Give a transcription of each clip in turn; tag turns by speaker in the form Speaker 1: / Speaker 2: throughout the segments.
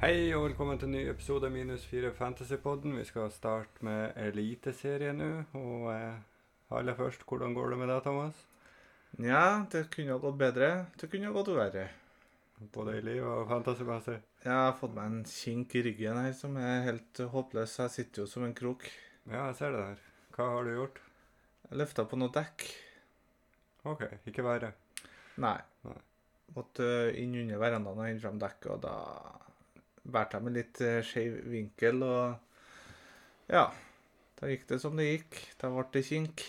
Speaker 1: Hei og velkommen til en ny episode av Minus 4 Fantasypodden. Vi skal starte med Eliteserien nå. Og eh, aller først, hvordan går det med deg, Thomas?
Speaker 2: Ja, det kunne ha gått bedre. Det kunne ha gått verre.
Speaker 1: Både i liv og fantasymessig.
Speaker 2: Jeg har fått meg en kink i ryggen her som er helt håpløs. Jeg sitter jo som en krok.
Speaker 1: Ja, jeg ser det der. Hva har du gjort?
Speaker 2: Jeg løfta på noe dekk.
Speaker 1: OK, ikke verre.
Speaker 2: Nei.
Speaker 1: Nei.
Speaker 2: Måtte ø, inn under verandaen og hente fram dekket, og da bærte jeg med litt ø, skeiv vinkel, og ja. Da gikk det som det gikk. Da ble det kink.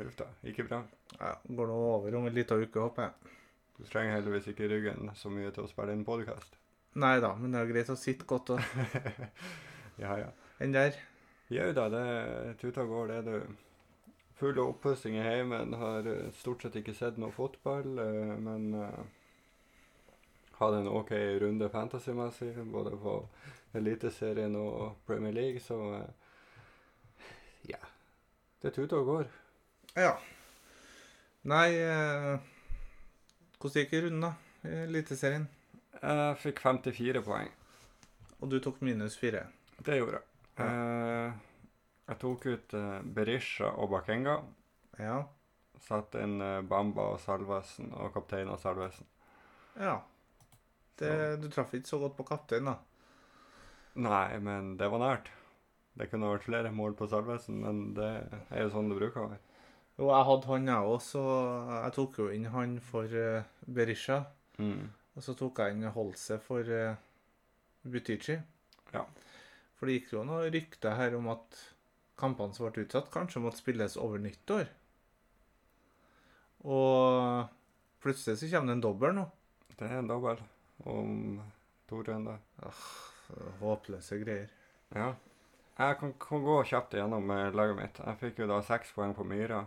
Speaker 1: Huff da, ikke bra.
Speaker 2: Ja, går nå over om en liten uke, håper jeg.
Speaker 1: Du trenger heldigvis ikke ryggen så mye til å spille inn podkast.
Speaker 2: Nei da, men det er greit å sitte godt og
Speaker 1: ja, ja.
Speaker 2: enn der.
Speaker 1: Jau da, det tuta går, det, du. Full av oppussing i heimen. Har eh, stort sett ikke sett noe fotball, eh, men eh, hadde en OK runde fantasymessig, både på Eliteserien og Premier League, så eh, ja. Det tuta og går.
Speaker 2: Ja. Nei eh, Hvordan gikk runden, da? I Eliteserien.
Speaker 1: Jeg fikk 54 poeng.
Speaker 2: Og du tok minus fire.
Speaker 1: Det gjorde jeg. Eh, jeg tok ut eh, Berisha og Bakenga.
Speaker 2: Ja.
Speaker 1: Satt inn eh, Bamba og Salvesen og kaptein og Salvesen.
Speaker 2: ja. Det, du traff ikke så godt på kapteinen, da.
Speaker 1: Nei, men det var nært. Det kunne vært flere mål på Salvesen, men det er jo sånn det bruker å være.
Speaker 2: Jo, jeg hadde han, jeg òg, så jeg tok jo inn han for eh, Berisha. Og så tok jeg inn Holse for eh, Butichi.
Speaker 1: Ja.
Speaker 2: For det gikk jo noe rykte her om at kampene som ble utsatt, kanskje måtte spilles over nyttår. Og plutselig så kommer det en dobbel nå.
Speaker 1: Det er en dobbel om to runder.
Speaker 2: Håpløse greier.
Speaker 1: Ja. Jeg kan, kan gå kjapt igjennom eh, laget mitt. Jeg fikk jo da seks poeng på Myra,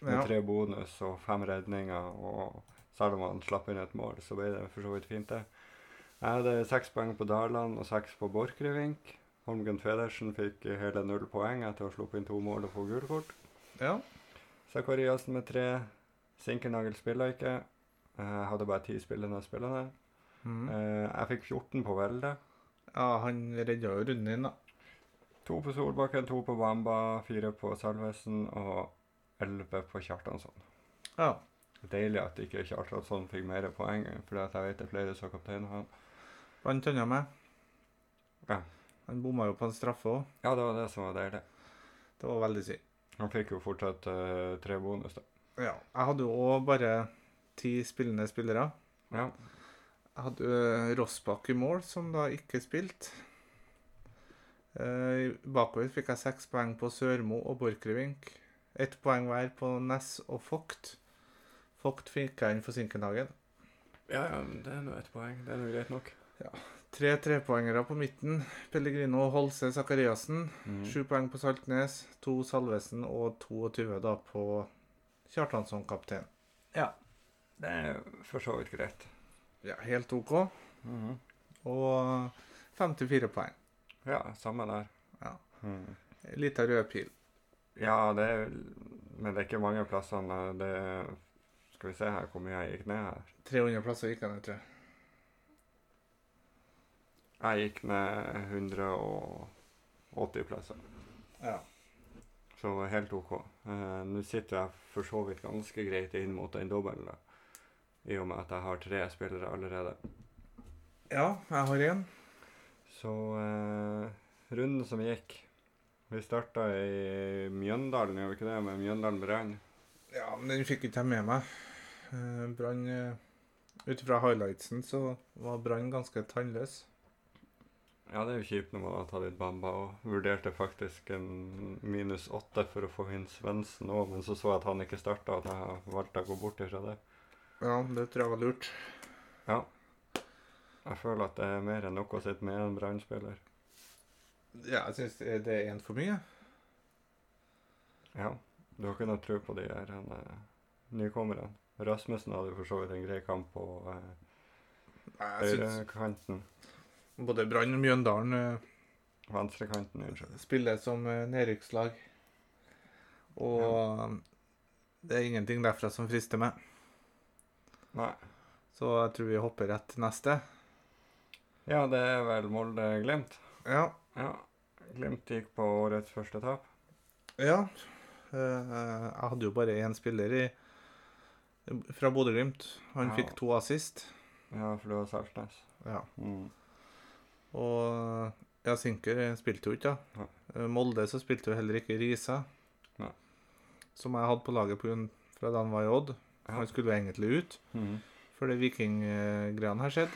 Speaker 1: med
Speaker 2: Ja.
Speaker 1: tre bonus og fem redninger. Og selv om han slapp inn et mål, så ble det for så vidt fint, det. Jeg hadde seks poeng på Darland og seks på Borchgrevink. Holmgren Federsen fikk eh, hele null poeng etter å ha sluppet inn to mål og få gult kort.
Speaker 2: ja.
Speaker 1: Zakariassen med tre. Sinkenagel spiller ikke. Jeg hadde bare ti spillende spillende.
Speaker 2: Mhm.
Speaker 1: Eh, Jeg fikk 14 på Velde.
Speaker 2: ja, han redda jo runden din, da.
Speaker 1: To på Solbakken, to på Bamba, fire på Salvesen og elleve på Kjartansson.
Speaker 2: Ja.
Speaker 1: Deilig at ikke Kjartansson fikk mer poeng, for jeg vet det er flere som kapteiner han.
Speaker 2: Blant annet meg.
Speaker 1: Ja.
Speaker 2: Han bomma jo på en straffe òg.
Speaker 1: Ja, det var det som var deilig.
Speaker 2: Det var veldig synd.
Speaker 1: Han fikk jo fortsatt eh, tre bonus, da.
Speaker 2: Ja. Jeg hadde jo òg bare ti spillende spillere.
Speaker 1: Ja.
Speaker 2: Jeg hadde eh, Rossbakk i mål, som da ikke spilte. Eh, bakover fikk jeg seks poeng på Sørmo og Borchgrevink. Ett poeng hver på Ness og Vogt. Vogt fikk jeg inn for Sinkenhagen.
Speaker 1: Ja, ja, det er nå ett poeng. Det er nå greit nok.
Speaker 2: Tre trepoengere på midten. Pellegrino, Holse, Sakariassen.
Speaker 1: Mm.
Speaker 2: Sju poeng på Saltnes. To Salvesen og 22 da på Kjartansson kaptein.
Speaker 1: Det er for så vidt greit.
Speaker 2: Ja, helt OK.
Speaker 1: Mhm.
Speaker 2: Og 54 poeng.
Speaker 1: Ja, samme der.
Speaker 2: Ja.
Speaker 1: Mhm.
Speaker 2: Lita rød pil.
Speaker 1: Ja, det er, men det er ikke mange plassene det Skal vi se her hvor mye jeg gikk ned her.
Speaker 2: 300 plasser gikk jeg ned, tror jeg.
Speaker 1: Jeg gikk ned 180 plasser,
Speaker 2: Ja.
Speaker 1: så helt OK. Eh, Nå sitter jeg for så vidt ganske greit inn mot den dobbelen, da. i og med at jeg har tre spillere allerede.
Speaker 2: ja, jeg har én.
Speaker 1: Så eh, runden som gikk Vi starta i Mjøndalen, gjør vi ikke det? Med Mjøndalen Brann.
Speaker 2: Ja, men den fikk ikke jeg med meg. Eh, Brann eh, Ut fra highlightsen så var Brann ganske tannløs.
Speaker 1: Ja, det er jo kjipt når man har tatt ut Bamba og vurderte faktisk en minus åtte for å få inn Svendsen òg, men så så jeg at han ikke starta, og jeg valgte å gå bort ifra det.
Speaker 2: Ja, det tror jeg var lurt.
Speaker 1: Jeg føler at det er mer enn nok å sitte med en Brann-spiller.
Speaker 2: Ja, jeg syns det det er én for mye.
Speaker 1: Ja. Du har ikke noe tro på de her eh, nykommerne. Rasmussen hadde jo for så vidt en grei kamp på eh,
Speaker 2: Nei, jeg synes
Speaker 1: høyrekanten.
Speaker 2: både Brann og Mjøndalen eh,
Speaker 1: Venstrekanten, unnskyld.
Speaker 2: spiller som eh, nedrykkslag. Og eh, det er ingenting derfra som frister meg.
Speaker 1: Nei.
Speaker 2: Så jeg tror vi hopper rett til neste.
Speaker 1: Ja, det er vel Molde-Glimt.
Speaker 2: Ja.
Speaker 1: Ja. Glimt gikk på årets første tap.
Speaker 2: ja. Eh, Jeg hadde jo bare én spiller i, fra Bodø-Glimt. Han
Speaker 1: Ja.
Speaker 2: fikk to assist.
Speaker 1: Ja, for du har Saltnes. Mm.
Speaker 2: Ja. Og ja, Sinker spilte jo ikke, da. Eh, Molde så spilte jo heller ikke Risa,
Speaker 1: Nei.
Speaker 2: som jeg hadde på laget på grunn fra da han var i Odd.
Speaker 1: Ja.
Speaker 2: Han skulle jo egentlig ut,
Speaker 1: Mhm.
Speaker 2: før det vikinggreiene har skjedd.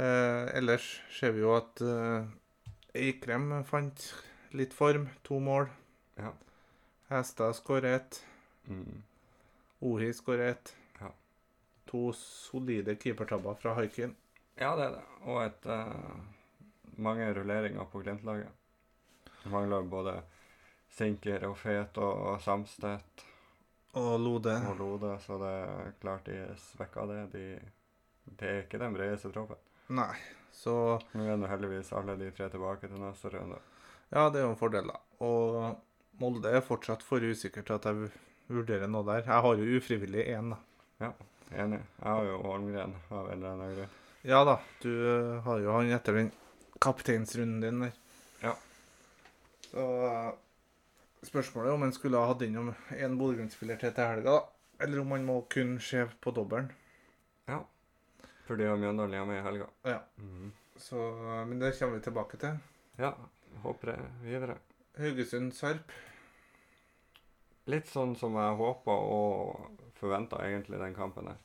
Speaker 2: Eh, ellers ser vi jo at eh, Eikrem fant litt form. To mål.
Speaker 1: Ja.
Speaker 2: Hestad skårer ett.
Speaker 1: Mhm.
Speaker 2: Ohi skårer ett.
Speaker 1: Ja.
Speaker 2: To solide keepertabber fra Haikin.
Speaker 1: Ja, det er det. Og et eh, mange rulleringer på Glimt-laget. Det Mangler både Sinker og Fet og Samstedt
Speaker 2: Og Lode.
Speaker 1: og Lode, så det er klart de svekker det. De, det er ikke den bredeste troppen.
Speaker 2: Nei. Så
Speaker 1: Nå er nå heldigvis alle de tre tilbake til neste runde.
Speaker 2: Ja, det er jo en fordel, da. Og Molde er fortsatt for usikker til at jeg vu- vurderer noe der. Jeg har jo ufrivillig én, da.
Speaker 1: Enig. Jeg har jo Holmgren av en eller annen grunn.
Speaker 2: Ja da, du eh, har jo han etter den kapteinsrunden din der.
Speaker 1: Ja.
Speaker 2: Så eh, spørsmålet er om han skulle ha hatt innom en Bodø-Glimt-spiller til til helga, da. Eller om han må kun se på dobbelen.
Speaker 1: For de har Mjøndalen hjemme i helga.
Speaker 2: Ja.
Speaker 1: Mhm.
Speaker 2: Så, eh, men det kommer vi tilbake til.
Speaker 1: Ja, håper jeg videre.
Speaker 2: Haugesund-Sarp.
Speaker 1: Litt sånn som jeg håpa og forventa egentlig den kampen her.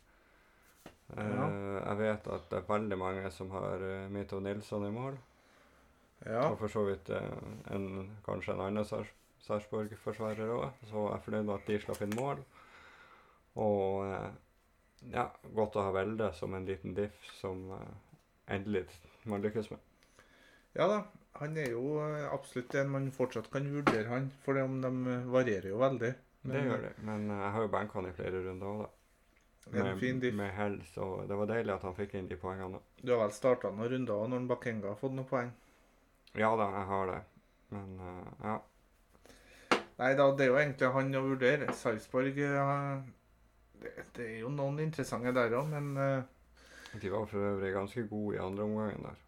Speaker 1: Eh,
Speaker 2: Ja.
Speaker 1: Jeg vet at det er veldig mange som har eh, Mito Nilsson i mål.
Speaker 2: Ja.
Speaker 1: Og for så vidt eh, en, kanskje en annen Sars- Sarpsborg-forsvarer òg. Så jeg er fornøyd med at de slapp inn mål. Og eh, ja, godt å ha Velde som en liten diff som eh, endelig man lykkes med.
Speaker 2: ja da. Han er jo eh, absolutt en man fortsatt kan vurdere, han. For det om de eh, varierer jo veldig.
Speaker 1: Det gjør de. Men eh, jeg har jo benka han i flere runder òg, da.
Speaker 2: En fin diff.
Speaker 1: med hell, så det var deilig at han fikk inn de poengene.
Speaker 2: Du har vel starta noen runder også når Bakenga har fått noen poeng?
Speaker 1: Ja da, jeg har det. Men eh, ja.
Speaker 2: Nei da, det er jo egentlig han å vurdere. Sarpsborg eh, det, det er jo noen interessante der òg, men eh,
Speaker 1: De var for øvrig ganske gode i andre omgangen der.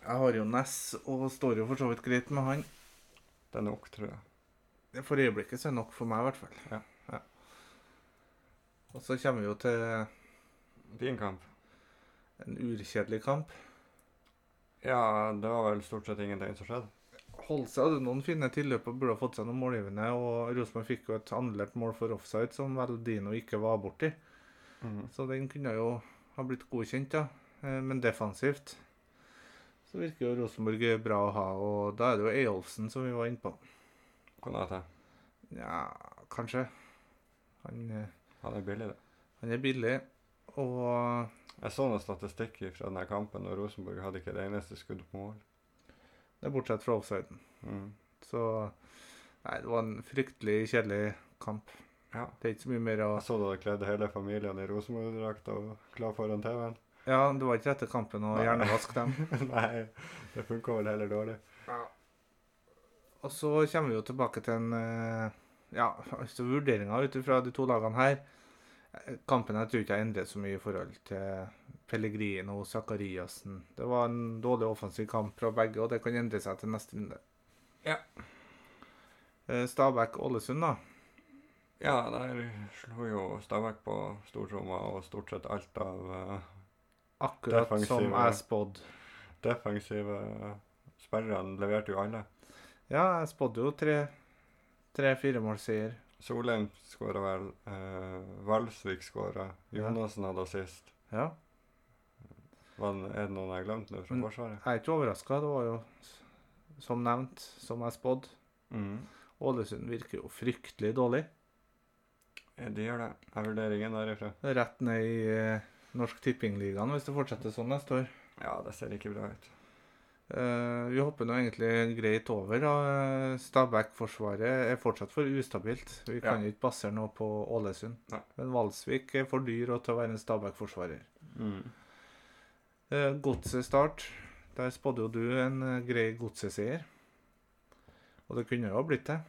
Speaker 2: jeg har jo Ness og står jo for så vidt greit med han.
Speaker 1: Det er nok, tror jeg.
Speaker 2: For øyeblikket så er det nok for meg, i hvert fall.
Speaker 1: Ja.
Speaker 2: Og så kommer vi jo til
Speaker 1: Din kamp?
Speaker 2: en urkjedelig kamp.
Speaker 1: Ja, det var vel stort sett ingenting som skjedde.
Speaker 2: Holse hadde noen fine tilløp og burde ha fått seg noen målgivende, og Rosenborg fikk jo et annullert mål for offside som vel Dino ikke var borti. Så den kunne jo ha blitt godkjent, ja. Eh, Men defensivt så virker jo Rosenborg bra å ha, og da er det jo Eyolfsen som vi var inne på.
Speaker 1: Konate.
Speaker 2: Nja, kanskje. Han, eh,
Speaker 1: Han er billig, det.
Speaker 2: han er billig, og
Speaker 1: Jeg så noen statistikk fra denne kampen, og Rosenborg hadde ikke det eneste skuddet på mål.
Speaker 2: det er bortsett fra offsiden.
Speaker 1: Mhm.
Speaker 2: Så nei, det var en fryktelig kjedelig kamp.
Speaker 1: Ja.
Speaker 2: Det er ikke så mye mer å
Speaker 1: Jeg så du hadde kledd hele familien i Rosenborg-drakt og klar foran TV-en.
Speaker 2: Ja, det var ikke etter kampen å
Speaker 1: Nei.
Speaker 2: hjernevaske dem.
Speaker 1: Nei, det funka vel heller dårlig.
Speaker 2: Og så kommer vi jo tilbake til en eh, Ja, altså vurderinga ut ifra de to lagene her. Eh, Kampen jeg tror ikke jeg endret så mye i forhold til Pellegrino og Zakariassen. Det var en dårlig offensiv kamp fra begge, og det kan endre seg til neste runde.
Speaker 1: Ja.
Speaker 2: Eh, Stabæk-Ålesund, da.
Speaker 1: Ja, der slo jo Stabæk på stortromma og stort sett alt av eh,
Speaker 2: Akkurat
Speaker 1: Defensiv,
Speaker 2: som
Speaker 1: ja.
Speaker 2: jeg spådde.
Speaker 1: defensive spillerne leverte jo alle.
Speaker 2: Ja, jeg spådde jo tre tre-firemålsseier.
Speaker 1: Solheim skåra vel, eh, Valsvik skåra,
Speaker 2: Ja.
Speaker 1: Jonassen hadde assist.
Speaker 2: Ja.
Speaker 1: Var det- er det noen jeg har glemt nå fra
Speaker 2: Mm.
Speaker 1: Forsvaret?
Speaker 2: Jeg er ikke overraska. Det var jo, s- som nevnt, som jeg spådde.
Speaker 1: Mm.
Speaker 2: Ålesund virker jo fryktelig dårlig.
Speaker 1: Ja, De gjør det. Jeg vurderer ingen derifra.
Speaker 2: Rett ned i eh, Norsk Tippingligaen hvis det fortsetter sånn neste år.
Speaker 1: Ja, det ser ikke bra ut.
Speaker 2: Eh, vi hopper nå egentlig greit over. da. Eh, Stabæk-forsvaret er fortsatt for ustabilt. Vi kan
Speaker 1: Ja.
Speaker 2: jo ikke basere noe på Ålesund.
Speaker 1: Nei.
Speaker 2: Men Valsvik er for dyr og til å være en Stabæk-forsvarer.
Speaker 1: Mm.
Speaker 2: Eh, Godset-start. Der spådde jo du en eh, grei godseseier. Og det kunne jo ha blitt det.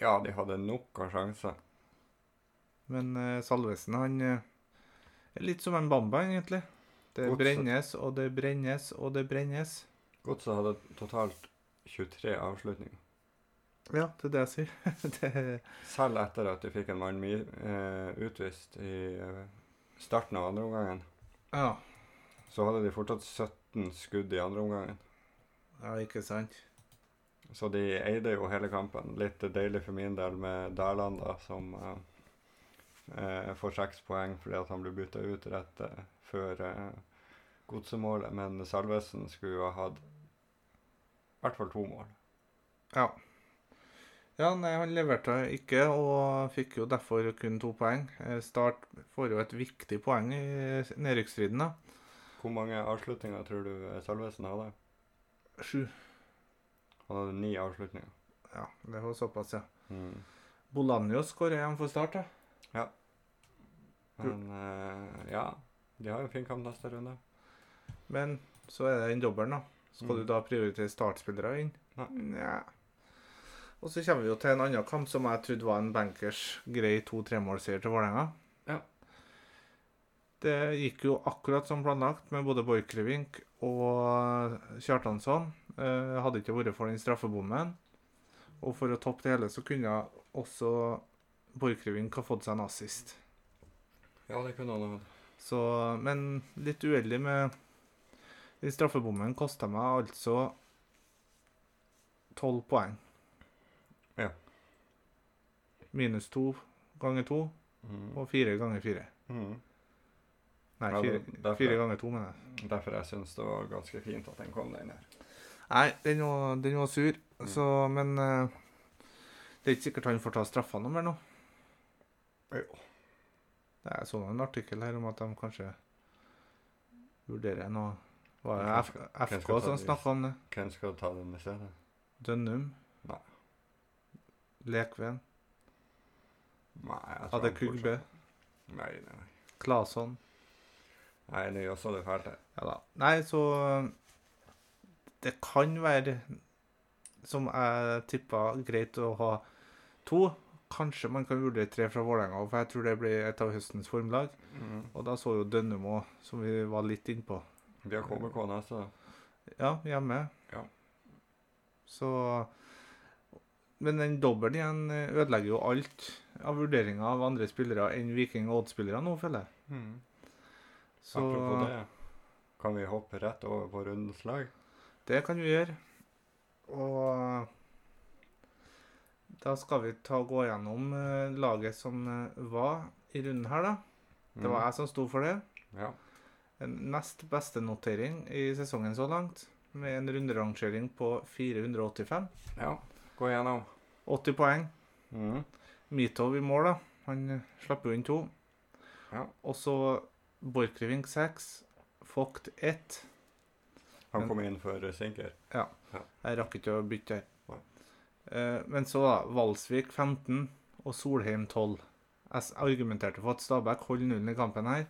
Speaker 1: Ja, de hadde nok av sjanser.
Speaker 2: Men eh, Salvesen han eh, er litt som en Bamba, egentlig. Det
Speaker 1: Godset.
Speaker 2: brennes, og det brennes, og det brennes.
Speaker 1: Godset hadde totalt 23 avslutninger.
Speaker 2: Ja, det er det jeg sier. det,
Speaker 1: Selv etter at de fikk en mann mi- eh, utvist i eh, starten av andre omgangen,
Speaker 2: ja.
Speaker 1: så hadde de fortsatt 17 skudd i andre omgangen.
Speaker 2: ja, ikke sant.
Speaker 1: Så de eide jo hele kampen. Litt deilig for min del med Dæhland, da, som eh, eh, får seks poeng fordi at han ble bytta ut rett eh, før eh, godsemålet. Men Salvesen skulle jo ha hatt i hvert fall to mål.
Speaker 2: Ja. Ja, nei, han leverte ikke, og fikk jo derfor kun to poeng. Eh, Start får jo et viktig poeng i nedrykksstriden, da.
Speaker 1: Hvor mange avslutninger tror du eh, Salvesen hadde?
Speaker 2: Sju.
Speaker 1: Han hadde ni avslutninger.
Speaker 2: Ja, det var såpass, ja.
Speaker 1: Mm.
Speaker 2: Bolanjo skårer igjen for Start, da.
Speaker 1: Men eh, ja, de har jo en fin kamp neste runde.
Speaker 2: Men så er det den dobbelen, da. Skal
Speaker 1: Mm.
Speaker 2: du da prioritere startspillere inn?
Speaker 1: Nei.
Speaker 2: Nja. Og så kommer vi jo til en annen kamp som jeg trodde var en bankers grei to-tremålseier til Vålerenga.
Speaker 1: Ja.
Speaker 2: Det gikk jo akkurat som planlagt med både Borchgrevink og Kjartansson. Eh, hadde ikke vært for den straffebommen. Og for å toppe det hele så kunne også Borchgrevink ha fått seg en assist.
Speaker 1: Ja, det kunne han ha hatt.
Speaker 2: Så, men litt uheldig med Den straffebommen kosta meg altså 12 poeng.
Speaker 1: Ja.
Speaker 2: Minus to ganger to
Speaker 1: Mm.
Speaker 2: og fire ganger fire.
Speaker 1: Mm.
Speaker 2: Nei,
Speaker 1: Ja,
Speaker 2: fire,
Speaker 1: det- derfor-
Speaker 2: fire ganger to, mener jeg.
Speaker 1: Derfor jeg syns det var ganske fint at den kom, den der.
Speaker 2: Nei, den var, den var sur,
Speaker 1: Mm.
Speaker 2: så Men eh, det er ikke sikkert han får ta straffene mer nå.
Speaker 1: Jo.
Speaker 2: Det er sånn en artikkel her om at de kanskje vurderer noe Var det F
Speaker 1: Kanskje-
Speaker 2: FK
Speaker 1: kanskje ta
Speaker 2: som
Speaker 1: det i-
Speaker 2: snakka om det?
Speaker 1: Hvem skal ta den i stedet?
Speaker 2: Dønnum?
Speaker 1: Nei.
Speaker 2: Lekven?
Speaker 1: Nei, jeg tror han
Speaker 2: Hadde
Speaker 1: fortsatt-
Speaker 2: Kugbe?
Speaker 1: Nei, nei, nei.
Speaker 2: Claesson?
Speaker 1: Nei, nå jassa du fælt her.
Speaker 2: Ja da. Nei, så Det kan være, som jeg tippa, greit å ha to. Kanskje man kan vurdere tre fra Vålerenga, for jeg tror det blir et av høstens formlag. Og da så jo Dønnum òg, som vi var litt innpå.
Speaker 1: Vi har KBK neste.
Speaker 2: Ja, hjemme.
Speaker 1: Ja.
Speaker 2: Så Men den dobbelen igjen ødelegger jo alt av vurderinger av andre spillere enn Viking og Odd-spillere nå, føler jeg. Så
Speaker 1: Apropos det, kan vi hoppe rett over på rundens lag?
Speaker 2: det kan vi gjøre. Og da skal vi ta og gå gjennom eh, laget som eh, var i runden her, da. Det
Speaker 1: Mm.
Speaker 2: var jeg som sto for det.
Speaker 1: Ja.
Speaker 2: En nest beste notering i sesongen så langt, med en runderangering på 485.
Speaker 1: ja. Gå gjennom.
Speaker 2: 80 poeng. Mm.
Speaker 1: Mhm.
Speaker 2: Mitov i mål, da. Han eh, slapp jo inn to.
Speaker 1: Ja.
Speaker 2: Og så Borchgrevink seks, Vogt ett.
Speaker 1: Han
Speaker 2: Men-
Speaker 1: kom inn for Sinker.
Speaker 2: Jeg rakk ikke å bytte
Speaker 1: Nei.
Speaker 2: her. Eh, men så, da. Valsvik 15 og Solheim 12. Jeg s- argumenterte for at Stabæk holder nullen i kampen her,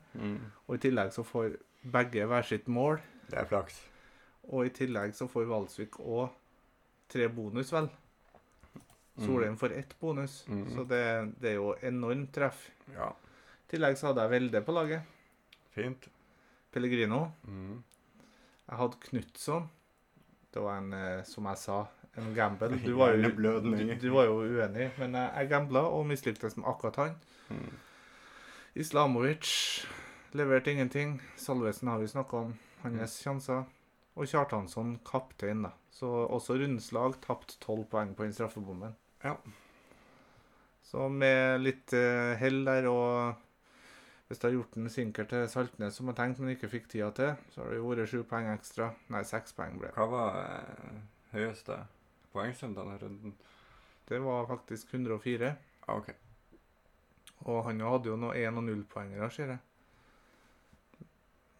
Speaker 2: og i tillegg så får begge hver sitt mål.
Speaker 1: Det er flaks.
Speaker 2: Og i tillegg så får Valsvik òg tre bonus, vel.
Speaker 1: Mhm.
Speaker 2: Solheim får ett bonus,
Speaker 1: Mhm.
Speaker 2: så det, det er jo enormt treff.
Speaker 1: Ja.
Speaker 2: I tillegg så hadde jeg Velde på laget.
Speaker 1: Fint.
Speaker 2: Pellegrino.
Speaker 1: Mhm.
Speaker 2: Mm. Jeg hadde Knutson. Det var en, eh, som jeg sa, en gamble. Du var jo, du,
Speaker 1: Hjerneblødning.
Speaker 2: du var jo uenig, men jeg, jeg gambla og mislyktes med akkurat han.
Speaker 1: Mhm.
Speaker 2: Islamovic leverte ingenting. Salvesen har vi snakka om, hans sjanser. Og Kjartansson kaptein, da. Så også rundens lag tapte tolv poeng på den straffebommen.
Speaker 1: Ja.
Speaker 2: Så med litt eh, hell der og hvis jeg har gjort en sinker til Saltnes som jeg tenkte, men ikke fikk tida til, så har det jo vært sju poeng ekstra. Nei, seks poeng ble det.
Speaker 1: Hva var eh, høyeste poengsum denne runden?
Speaker 2: Det var faktisk 104.
Speaker 1: Ah, OK.
Speaker 2: Og han jo hadde jo noe 1- og 0-poengere, ser jeg.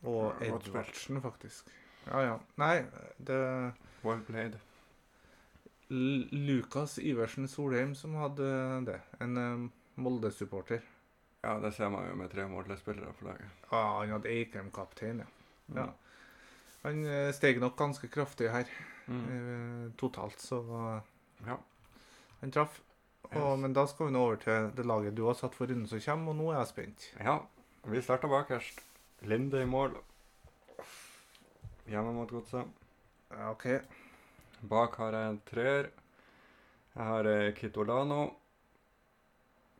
Speaker 2: Og
Speaker 1: Ja, godt spilt.
Speaker 2: Edvardsen, faktisk. Ja, ja. Nei, det
Speaker 1: Well played.
Speaker 2: L Lukas Iversen Solheim som hadde det. En eh, Molde-supporter.
Speaker 1: Ja, det ser man jo med tre målespillere på laget.
Speaker 2: Ah, han hadde Eikrem-kaptein, ja.
Speaker 1: Mhm.
Speaker 2: ja. Han eh, steg nok ganske kraftig her,
Speaker 1: Mhm.
Speaker 2: eh, totalt, så eh,
Speaker 1: Ja.
Speaker 2: han traff. Og,
Speaker 1: Yes.
Speaker 2: men da skal vi nå over til det laget du har satt for runden som kommer, og nå er jeg spent.
Speaker 1: Ja, vi starter bakerst. Linde i mål. hjemme mot godset.
Speaker 2: Ja, OK.
Speaker 1: Bak har jeg en treer. Jeg har eh, Kitolano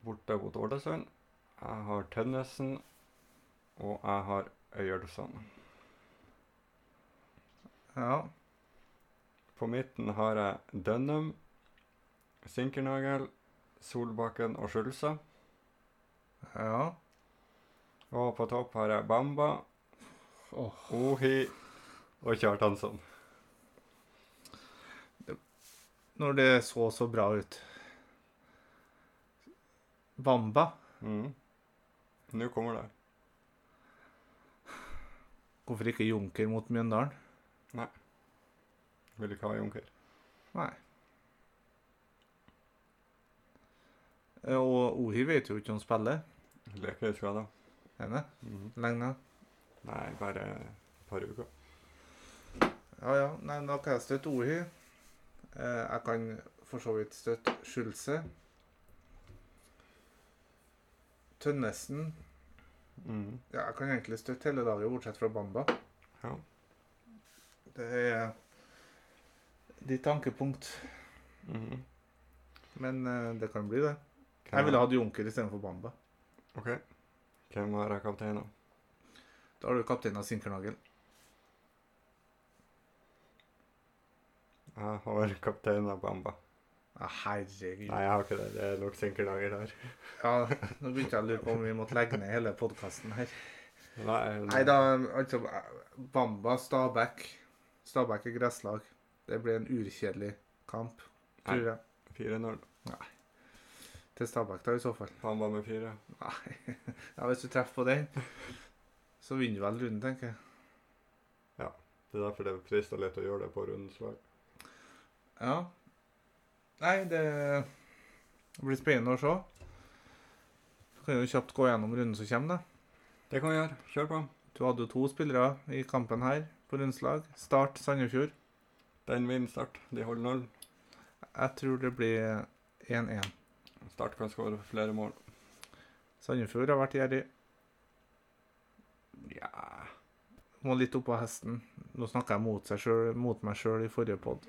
Speaker 1: borte mot Ålesund. Jeg har Tønnesen, og jeg har Øyelsson.
Speaker 2: Ja.
Speaker 1: På midten har jeg Dønnum, Sinkernagel, Solbakken og Skjulse.
Speaker 2: Ja.
Speaker 1: Og på topp har jeg Bamba,
Speaker 2: Åh.
Speaker 1: Ohi og Kjartansson.
Speaker 2: Når det så så bra ut. Bamba.
Speaker 1: Mm. Nå kommer det.
Speaker 2: Hvorfor ikke Junker mot Mjøndalen?
Speaker 1: Vil ikke ha Junker.
Speaker 2: Nei. Eh, Og Ohi vet jo ikke om han spiller.
Speaker 1: Leker skada.
Speaker 2: Er han det?
Speaker 1: Mm.
Speaker 2: Lenge?
Speaker 1: Nei, bare et par uker.
Speaker 2: Ja, ja. Nei, men da kan jeg støtte Ohi. Eh, jeg kan for så vidt støtte Skjulse. Tønnesen.
Speaker 1: Mm.
Speaker 2: Ja, jeg kan egentlig støtte hele laget, bortsett fra Bamba.
Speaker 1: Ja.
Speaker 2: Det er ditt tankepunkt,
Speaker 1: Mhm.
Speaker 2: men eh, det kan bli det.
Speaker 1: Hvem
Speaker 2: Jeg ville
Speaker 1: har-
Speaker 2: hatt Junker istedenfor Bamba.
Speaker 1: Ok. Hvem har jeg kaptein av?
Speaker 2: Da har du kapteinen av Sinkernagel.
Speaker 1: Jeg har kaptein av Bamba.
Speaker 2: Ja, herregud.
Speaker 1: Nei, jeg har ikke det. Det er nok sinkerdager her.
Speaker 2: Ja, nå begynte jeg å lure på om vi måtte legge ned hele podkasten her.
Speaker 1: Nei,
Speaker 2: Nei da, altså Bamba, Stabæk. Stabæk er gresslag. Det blir en urkjedelig kamp, tror jeg.
Speaker 1: 4-0.
Speaker 2: Til Stabæk, da, i så fall.
Speaker 1: Bamba med fire.
Speaker 2: Nei. Ja, hvis du treffer på den, så vinner du vel runden, tenker jeg.
Speaker 1: Det er derfor det frister litt å gjøre det på rundens lag.
Speaker 2: Ja. Nei, det blir spennende å se. Så kan du kjapt gå gjennom runden som kommer, da.
Speaker 1: Det kan vi gjøre. Kjør på.
Speaker 2: Du hadde jo to spillere i kampen her på rundslag. Start Sandefjord.
Speaker 1: Den vinner Start. De holder null.
Speaker 2: Jeg tror det blir 1-1.
Speaker 1: Start kan skåre flere mål.
Speaker 2: Sandefjord har vært gjerrig.
Speaker 1: Ja
Speaker 2: Må litt opp av hesten. Nå snakker jeg mot, seg selv, mot meg sjøl i forrige pod.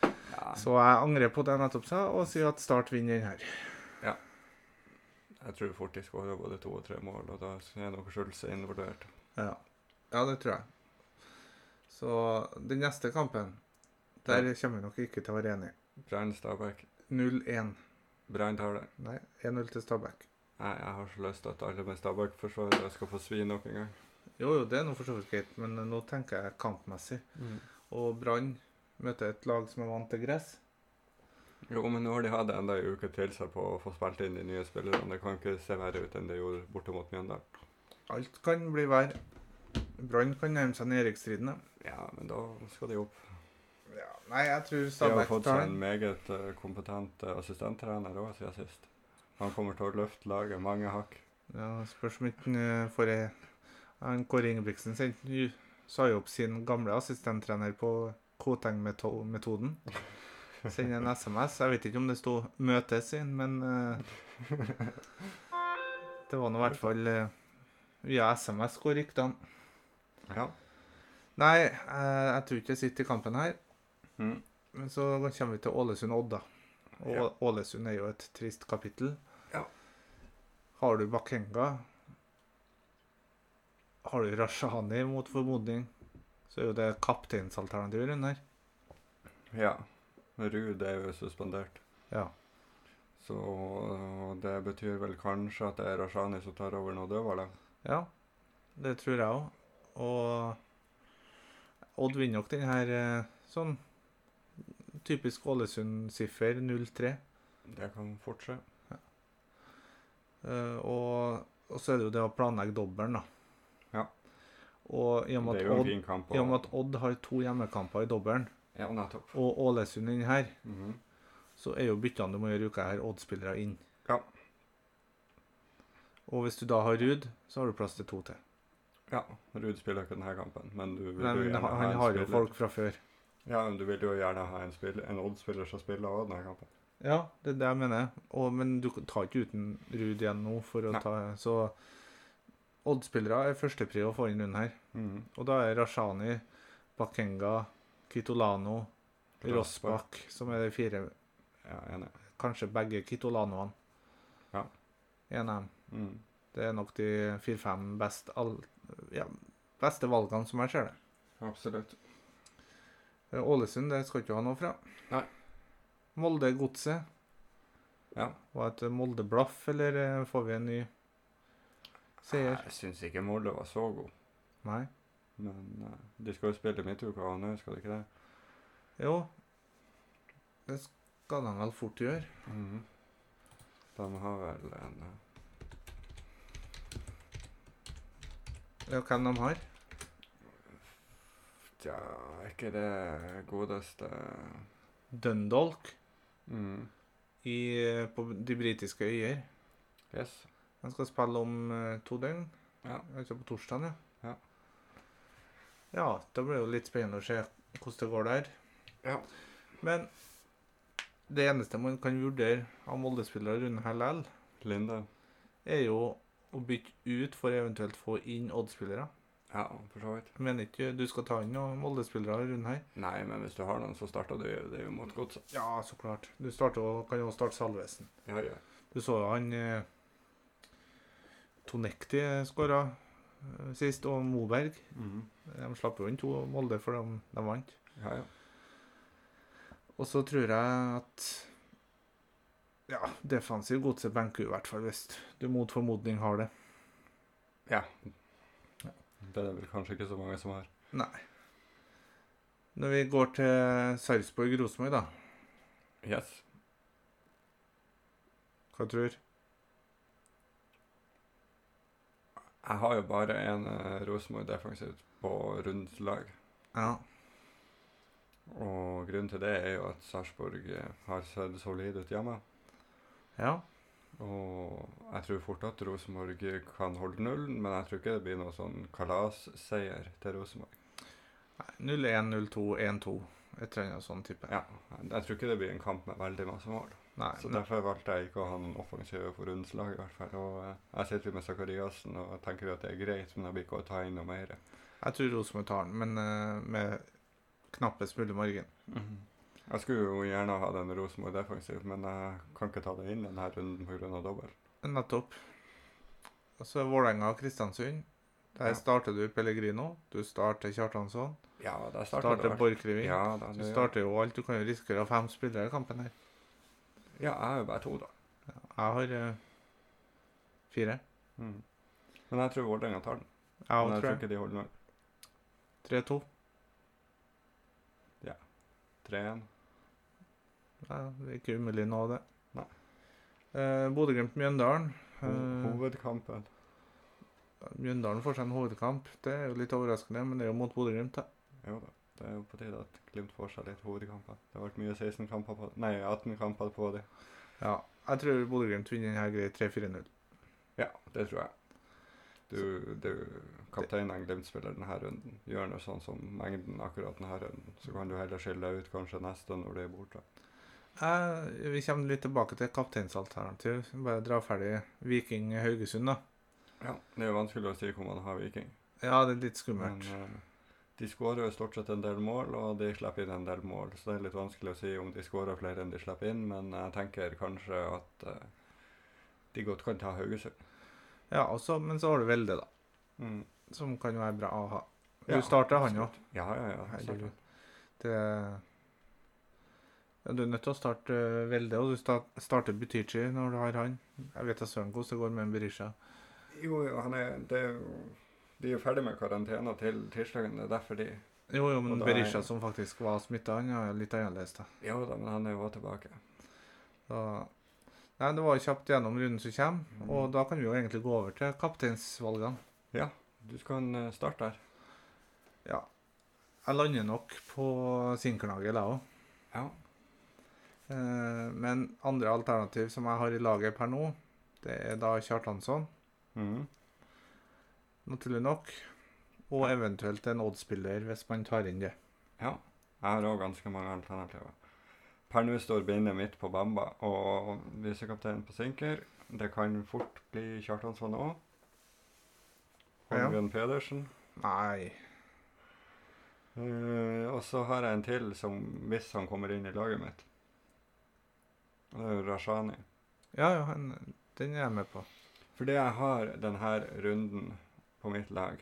Speaker 1: Ja.
Speaker 2: Så jeg angrer på det jeg nettopp sa, og sier at Start vinner den her.
Speaker 1: Jeg tror fort de skårer både to og tre mål, og da er nok Schulze involvert.
Speaker 2: Ja. ja, det tror jeg. Så den neste kampen, der kommer vi nok ikke til å være enige.
Speaker 1: Brann Stabæk.
Speaker 2: 0-1.
Speaker 1: Brann tar det.
Speaker 2: Nei, 1-0 til Stabæk.
Speaker 1: Nei, jeg har så lyst til at alle med Stabæk-forsvarere skal få svi nok en gang.
Speaker 2: Jo, jo, det er nå for så vidt greit, men nå tenker jeg kampmessig. Og Brann møter et lag som er vant til gress.
Speaker 1: Jo, men nå har de hatt enda en uke til seg på å få spilt inn de nye spillerne. Det kan ikke se verre ut enn det gjorde borte mot Mjøndalen.
Speaker 2: Alt kan bli vær. Brann kan nærme seg nedrykksstriden. ja.
Speaker 1: Ja, men da skal de opp.
Speaker 2: Ja, nei, jeg tror
Speaker 1: De har
Speaker 2: Stabæk
Speaker 1: fått
Speaker 2: tar
Speaker 1: seg en
Speaker 2: den.
Speaker 1: meget eh, kompetent eh, assistenttrener òg siden sist. Han kommer til å løfte laget mange hakk.
Speaker 2: Ja, spørs om ikke han, eh, får ei- han Kåre Ingebrigtsen sendte jo- sa jo opp sin gamle assistenttrener på Koteng-metoden. Sender en SMS. Jeg vet ikke om det sto 'møtes' inn, men eh, Det var nå i hvert fall eh, via SMS går ryktene.
Speaker 1: Ja.
Speaker 2: Nei, eh, jeg tror ikke jeg sitter i kampen her.
Speaker 1: Mm.
Speaker 2: Men så kommer vi til Ålesund og Odd, da. Og
Speaker 1: Ja.
Speaker 2: Ålesund er jo et trist kapittel.
Speaker 1: Ja.
Speaker 2: Har du Bakenga, har du Rashani mot formodning, så er jo det kapteinsalternativet rundt her.
Speaker 1: ja. Ruud er jo suspendert,
Speaker 2: Ja.
Speaker 1: så og det betyr vel kanskje at det er Rashani som tar over nå dødballet.
Speaker 2: ja. Det tror jeg òg. Og Odd vinner nok den her eh, sånn typisk Ålesund-siffer 0-3.
Speaker 1: Det kan fort skje.
Speaker 2: Eh, og, og så er det jo det å planlegge dobbelen, da.
Speaker 1: Ja.
Speaker 2: Og i
Speaker 1: Det
Speaker 2: og med
Speaker 1: er
Speaker 2: at
Speaker 1: jo en
Speaker 2: Odd,
Speaker 1: fin kamp.
Speaker 2: i og med
Speaker 1: Og...
Speaker 2: at Odd har to hjemmekamper i dobbelen,
Speaker 1: Ja, nettopp.
Speaker 2: og Ålesund inn her,
Speaker 1: Mhm.
Speaker 2: så er jo byttene du må gjøre i uka her, Odd-spillere inn.
Speaker 1: Ja.
Speaker 2: Og hvis du da har Ruud, så har du plass til to til.
Speaker 1: Ja, Ruud spiller ikke denne kampen, men du vil
Speaker 2: Nei,
Speaker 1: jo
Speaker 2: men
Speaker 1: gjerne
Speaker 2: han,
Speaker 1: ha en
Speaker 2: han har jo
Speaker 1: spiller.
Speaker 2: folk fra før.
Speaker 1: Ja, men du vil jo gjerne ha en, spill, en Odd-spiller som spiller også denne kampen.
Speaker 2: Ja, det er det jeg mener. Og, men du tar ikke uten Ruud igjen nå, for å
Speaker 1: Nei.
Speaker 2: ta Så Odd-spillere er førstepri å få inn runden her.
Speaker 1: Mm.
Speaker 2: Og da er Rashani, Bakenga, Kitolano, Rossbakk som er de fire
Speaker 1: Ja, enig.
Speaker 2: Kanskje begge Kitolanoene.
Speaker 1: Ja.
Speaker 2: En av dem.
Speaker 1: Mm.
Speaker 2: Det er nok de fire-fem best, all- ja, beste valgene som jeg ser det.
Speaker 1: Absolutt.
Speaker 2: Eh, Ålesund det skal ikke ha noe fra.
Speaker 1: Nei.
Speaker 2: Molde Godset.
Speaker 1: Ja.
Speaker 2: Var et Molde-blaff, eller eh, får vi en ny seier?
Speaker 1: Jeg syns ikke Molde var så god,
Speaker 2: Nei.
Speaker 1: men eh, de skal jo spille midtuka nå, skal de ikke det?
Speaker 2: Jo, det skal de vel fort gjøre.
Speaker 1: Mhm. De har vel en eh,
Speaker 2: Ja, hvem de har.
Speaker 1: Tja, er ikke det godeste eh,
Speaker 2: Dundalk
Speaker 1: mm.
Speaker 2: i, eh, på de britiske øyer.
Speaker 1: Yes.
Speaker 2: De skal spille om eh, to døgn.
Speaker 1: Ja.
Speaker 2: Altså på torsdag, ja.
Speaker 1: Ja.
Speaker 2: Ja, da blir det jo litt spennende å se hvordan det går der.
Speaker 1: Ja.
Speaker 2: Men det eneste man kan vurdere av Molde-spillere rundt her likevel,
Speaker 1: Linde.
Speaker 2: er jo å bytte ut for eventuelt få inn Odd-spillere.
Speaker 1: Ja, for så vidt.
Speaker 2: Jeg mener ikke du skal ta inn noen Molde-spillere rundt her.
Speaker 1: Nei, men hvis du har noen, så starter du jo- det er jo mot godset.
Speaker 2: Ja, så klart. Du starter, og- kan jo starte Salvesen.
Speaker 1: Ja, ja.
Speaker 2: Du så jo han eh, Tonekti skåra eh, sist, og Moberg.
Speaker 1: Mhm.
Speaker 2: De slapp jo inn to Molde, for de, de vant.
Speaker 1: ja, ja.
Speaker 2: Og så tror jeg at Ja, defensiv godset benker jo i hvert fall hvis du mot formodning har det.
Speaker 1: Det er det vel kanskje ikke så mange som har.
Speaker 2: Når vi går til Sarpsborg-Rosenborg, da.
Speaker 1: Yes.
Speaker 2: Hva tror
Speaker 1: Jeg har jo bare en uh, Rosenborg defensivt på rundt lag.
Speaker 2: Ja.
Speaker 1: Og grunnen til det er jo at Sarpsborg eh, har sett solid ut hjemme.
Speaker 2: ja.
Speaker 1: Og jeg tror fort at Rosenborg kan holde nullen, men jeg tror ikke det blir noe sånn kalasseier til Rosenborg.
Speaker 2: Nei, 0-1, 0-2, 1-2. Et eller annet sånn type.
Speaker 1: Ja, Jeg tror ikke det blir en kamp med veldig masse mål.
Speaker 2: Nei,
Speaker 1: Så
Speaker 2: nei.
Speaker 1: derfor valgte jeg ikke å ha noen offensive for rundens lag, i hvert fall. Og eh, jeg sitter jo med Sakariassen og tenker jo at det er greit, men jeg blir ikke å ta inn noe mer.
Speaker 2: Jeg tror Rosenborg tar den, men eh, med knappest mulig margin.
Speaker 1: Mhm. Jeg skulle jo gjerne ha den Rosenborg defensivt, men jeg kan ikke ta det inn denne runden pga. dobbel.
Speaker 2: Nettopp. Og så Vålerenga og Kristiansund. Der
Speaker 1: Ja.
Speaker 2: starter du Pellegrino. Du starter Kjartansson.
Speaker 1: Ja, der starter
Speaker 2: Starter
Speaker 1: det. vel.
Speaker 2: Borchgrevink.
Speaker 1: Ja, da,
Speaker 2: Du
Speaker 1: det, ja.
Speaker 2: starter jo alt. Du kan jo risikere å ha fem spillere i kampen her.
Speaker 1: ja, jeg har jo bare to, da.
Speaker 2: Jeg har eh, fire.
Speaker 1: Mm. Men jeg tror Vålerenga tar den.
Speaker 2: Mhm. Jeg
Speaker 1: men
Speaker 2: har
Speaker 1: jeg
Speaker 2: tre.
Speaker 1: tror ikke de holder null.
Speaker 2: Tre-to.
Speaker 1: 3-1.
Speaker 2: Ja, det er ikke umulig nå, det.
Speaker 1: Nei.
Speaker 2: Eh, Bodø-Glimt-Mjøndalen.
Speaker 1: Ho
Speaker 2: Eh,
Speaker 1: hovedkampen.
Speaker 2: Mjøndalen får seg en hovedkamp. Det er jo litt overraskende, men det er jo mot Bodø-Glimt. da.
Speaker 1: Jo da. Det er jo på tide at Glimt får seg litt hovedkamper. Det har vært mye 16 kamper på Nei, 18 kamper på dem.
Speaker 2: Ja, jeg tror Bodø-Glimt vinner denne greia 3-4-0.
Speaker 1: Ja, det tror jeg. Du, du kapteinen av Glimt-spiller denne runden. Gjør noe sånn som mengden akkurat denne runden. Så kan du heller skille deg ut kanskje neste når du er borte.
Speaker 2: Eh, vi kommer litt tilbake til kapteinsalternativ. Bare dra ferdig Viking-Haugesund, da.
Speaker 1: Ja, Det er jo vanskelig å si hvor man har Viking.
Speaker 2: Ja, det er litt
Speaker 1: Men
Speaker 2: skummelt.
Speaker 1: eh, de skårer jo stort sett en del mål, og de slipper inn en del mål. Så det er litt vanskelig å si om de skårer flere enn de slipper inn, men jeg tenker kanskje at eh, de godt kan ta Haugesund.
Speaker 2: Ja, også, Men så har du Velde, da.
Speaker 1: Mm.
Speaker 2: Som kan være bra å ha. Du
Speaker 1: Ja,
Speaker 2: starter han òg.
Speaker 1: absolutt. Ja, ja, ja.
Speaker 2: Herregud.
Speaker 1: starter.
Speaker 2: Det ja, Du er nødt til å starte eh, Velde, og du sta- starter Butichi når du har han. Jeg vet da søren hvordan det går med en Berisha.
Speaker 1: Jo, jo, han er, det er jo De er jo ferdig med karantena til tirsdagen, det er derfor de
Speaker 2: Jo, jo,
Speaker 1: Og
Speaker 2: men
Speaker 1: da er-
Speaker 2: Berisha som faktisk var smitta, han er litt annerledes, da.
Speaker 1: Jo da, men han er jo også tilbake.
Speaker 2: Så, nei, det var jo kjapt gjennom runden som kommer,
Speaker 1: Mm.
Speaker 2: og da kan vi jo egentlig gå over til kapteinsvalgene.
Speaker 1: Du kan eh, starte her.
Speaker 2: Ja. Jeg lander nok på Sinkernagel, jeg òg.
Speaker 1: Ja.
Speaker 2: Eh, men andre alternativ som jeg har i laget per nå, det er da Kjartansson,
Speaker 1: Mhm.
Speaker 2: naturlig nok. Og eventuelt en Odd-spiller, hvis man tar inn det.
Speaker 1: Ja. Jeg har òg ganske mange alternativer. Per nå står bindet mitt på Bamba og visekapteinen på Sinker. Det kan fort bli Kjartansson òg.
Speaker 2: Ja.
Speaker 1: Holmgren Pedersen.
Speaker 2: Nei.
Speaker 1: Eh, og så har jeg en til som, hvis han kommer inn i laget mitt Og det er jo Rashani.
Speaker 2: Ja, ja, han- den er jeg med på.
Speaker 1: For det jeg har denne runden på mitt lag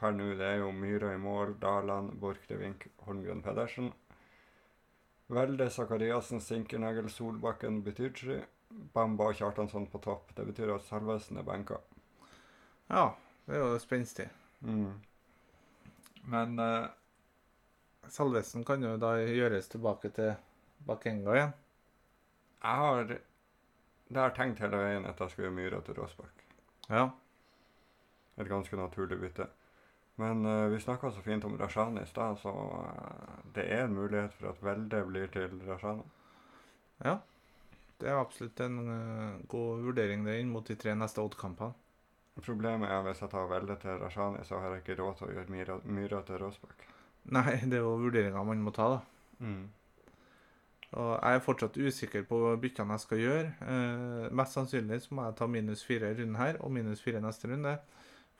Speaker 1: per nå, det er jo Myhra i mål, Daland, Borchgrevink, Holmgren Pedersen. Velde, Sakariassen, Sinkernagel, Solbakken, Butychi, Bamba og Kjartansson på topp. Det betyr at Salvesen er benka.
Speaker 2: Ja, det er jo spenstig.
Speaker 1: Men eh,
Speaker 2: Salvesen kan jo da gjøres tilbake til Bakenga igjen.
Speaker 1: jeg har det har jeg tenkt hele veien at jeg skulle gjøre Myhra til Råsbakk.
Speaker 2: Ja.
Speaker 1: Et ganske naturlig bytte. Men eh, vi snakka så fint om Rashani i stad, så eh, det er en mulighet for at Velde blir til Rashani.
Speaker 2: ja. Det er absolutt en eh, god vurdering det inn mot de tre neste Odd-kampene.
Speaker 1: Problemet er hvis jeg tar Velde til Rashani, så har jeg ikke råd til å gjøre Myra, Myra til Råsbakk.
Speaker 2: Nei, det er jo vurderinger man må ta, da. Mm. Og jeg er fortsatt usikker på byttene jeg skal gjøre. Eh, mest sannsynlig så må jeg ta minus fire i runden her og minus fire neste runde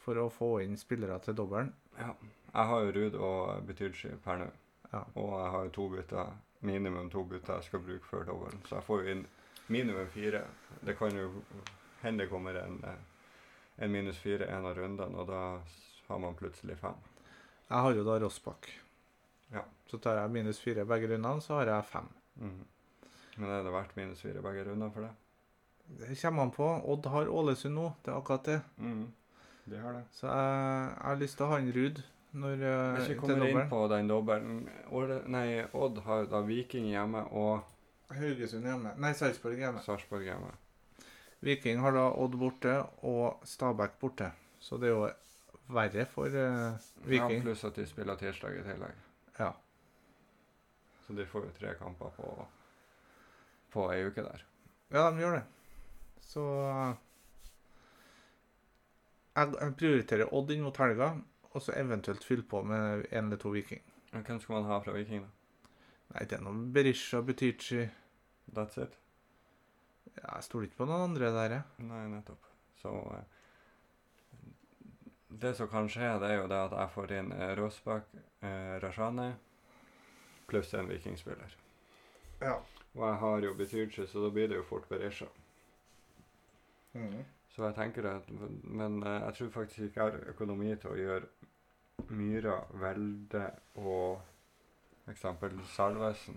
Speaker 2: for å få inn spillere til dobbelen.
Speaker 1: Jeg har jo Ruud og Butychi per nå.
Speaker 2: Ja.
Speaker 1: Og jeg har jo to bytter, minimum to bytter jeg skal bruke før dobbelen. Så jeg får jo inn minimum fire. Det kan jo hende det kommer en, eh, en minus fire en av rundene, og da s- har man plutselig fem.
Speaker 2: Jeg har jo da Rossbakk.
Speaker 1: Ja.
Speaker 2: Så tar jeg minus fire begge rundene, så har jeg fem.
Speaker 1: Mhm. Men er det verdt minus fire begge runder for det?
Speaker 2: Det kommer an på. Odd har Ålesund nå, det er akkurat det.
Speaker 1: Mhm. De har det.
Speaker 2: Så jeg, jeg har lyst til å ha en Ruud når eh,
Speaker 1: Hvis vi
Speaker 2: til
Speaker 1: kommer inn
Speaker 2: dobbelen.
Speaker 1: på den dobbelen Åle- Nei, Odd har jo da Viking hjemme og
Speaker 2: Haugesund hjemme. Nei, Sarpsborg hjemme.
Speaker 1: Sarpsborg hjemme.
Speaker 2: Viking har da Odd borte og Stabæk borte. Så det er jo verre for eh,
Speaker 1: Ja,
Speaker 2: Viking.
Speaker 1: pluss at de spiller tirsdag i tillegg.
Speaker 2: Ja.
Speaker 1: Så de får jo tre kamper på, på ei uke der.
Speaker 2: Ja, de gjør det. Så jeg, jeg prioriterer Odd inn mot helga, og så eventuelt fylle på med én eller to Viking.
Speaker 1: Men hvem skal man ha fra Viking, da?
Speaker 2: Nei, det er noe Berisha, Butichi
Speaker 1: That's it?
Speaker 2: ja, Jeg stoler ikke på noen andre der, jeg.
Speaker 1: Nei, nettopp. Så eh, Det som kan skje, det er jo det at jeg får inn eh, Rosbakk, eh, Rashani pluss en vikingspiller.
Speaker 2: Ja.
Speaker 1: Og jeg har jo Betyrdsi, så da blir det jo fort Berisha.
Speaker 2: Mm.
Speaker 1: Så jeg tenker at Men eh, jeg tror faktisk ikke jeg har økonomi til å gjøre Myra, Velde og for eksempel Salvesen.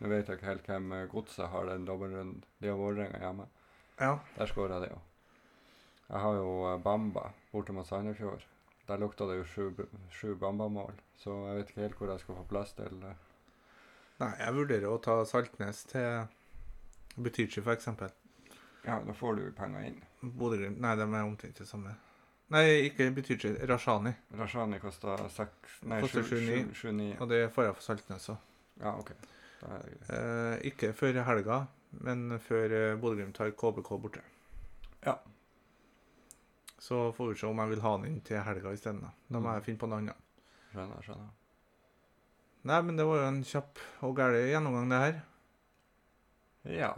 Speaker 1: Nå vet jeg ikke helt hvem eh, Godset har den dobbeltrunden. De har Vålerenga hjemme.
Speaker 2: ja.
Speaker 1: Der skåra det jo. Jeg har jo eh, Bamba borte mot Sandefjord. Der lukta det jo sju, b- sju Bamba-mål, så jeg vet ikke helt hvor jeg skal få plass til eh.
Speaker 2: Nei, jeg vurderer å ta Saltnes til Butichi, for eksempel.
Speaker 1: Ja, da får du jo penger inn.
Speaker 2: Bodø-Glimt Nei, de er omtrent det samme. Nei, ikke Butichi. Rashani.
Speaker 1: Rashani kosta seks Nei,
Speaker 2: Koster
Speaker 1: sju- sju
Speaker 2: 7,9.
Speaker 1: sju- ni.
Speaker 2: Og det får jeg for Saltnes òg.
Speaker 1: Ja, OK. Da er det greit.
Speaker 2: Eh, ikke før helga, men før eh, Bodø-Glimt har KBK borte.
Speaker 1: Ja.
Speaker 2: Så får vi se om jeg vil ha han inn til helga isteden. Da. da må
Speaker 1: Mm.
Speaker 2: jeg finne på noe annet.
Speaker 1: Skjønner, skjønner.
Speaker 2: Nei, men det var jo en kjapp og gæren gjennomgang, det her.
Speaker 1: Ja.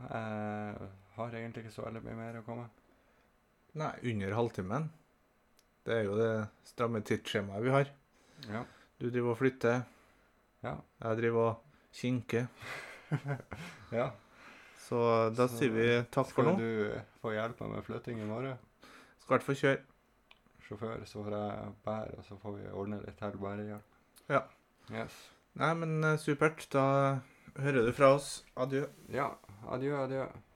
Speaker 1: Jeg har egentlig ikke så veldig mye mer å komme
Speaker 2: Nei, under halvtimen. Det er jo det stramme tidsskjemaet vi har.
Speaker 1: Ja.
Speaker 2: Du driver og flytter,
Speaker 1: Ja.
Speaker 2: jeg driver og kinker.
Speaker 1: ja.
Speaker 2: Så da
Speaker 1: Så
Speaker 2: sier vi takk for
Speaker 1: Skal
Speaker 2: nå.
Speaker 1: du eh, få hjelpe meg med flytting i morgen?
Speaker 2: Skal i hvert fall kjøre.
Speaker 1: Sjåfør, så får jeg bære, og så får vi ordne litt til bærehjelp.
Speaker 2: Ja.
Speaker 1: Yes.
Speaker 2: Nei, men eh, supert. Da hører du fra oss. Adjø.
Speaker 1: Ja, adjø, adjø.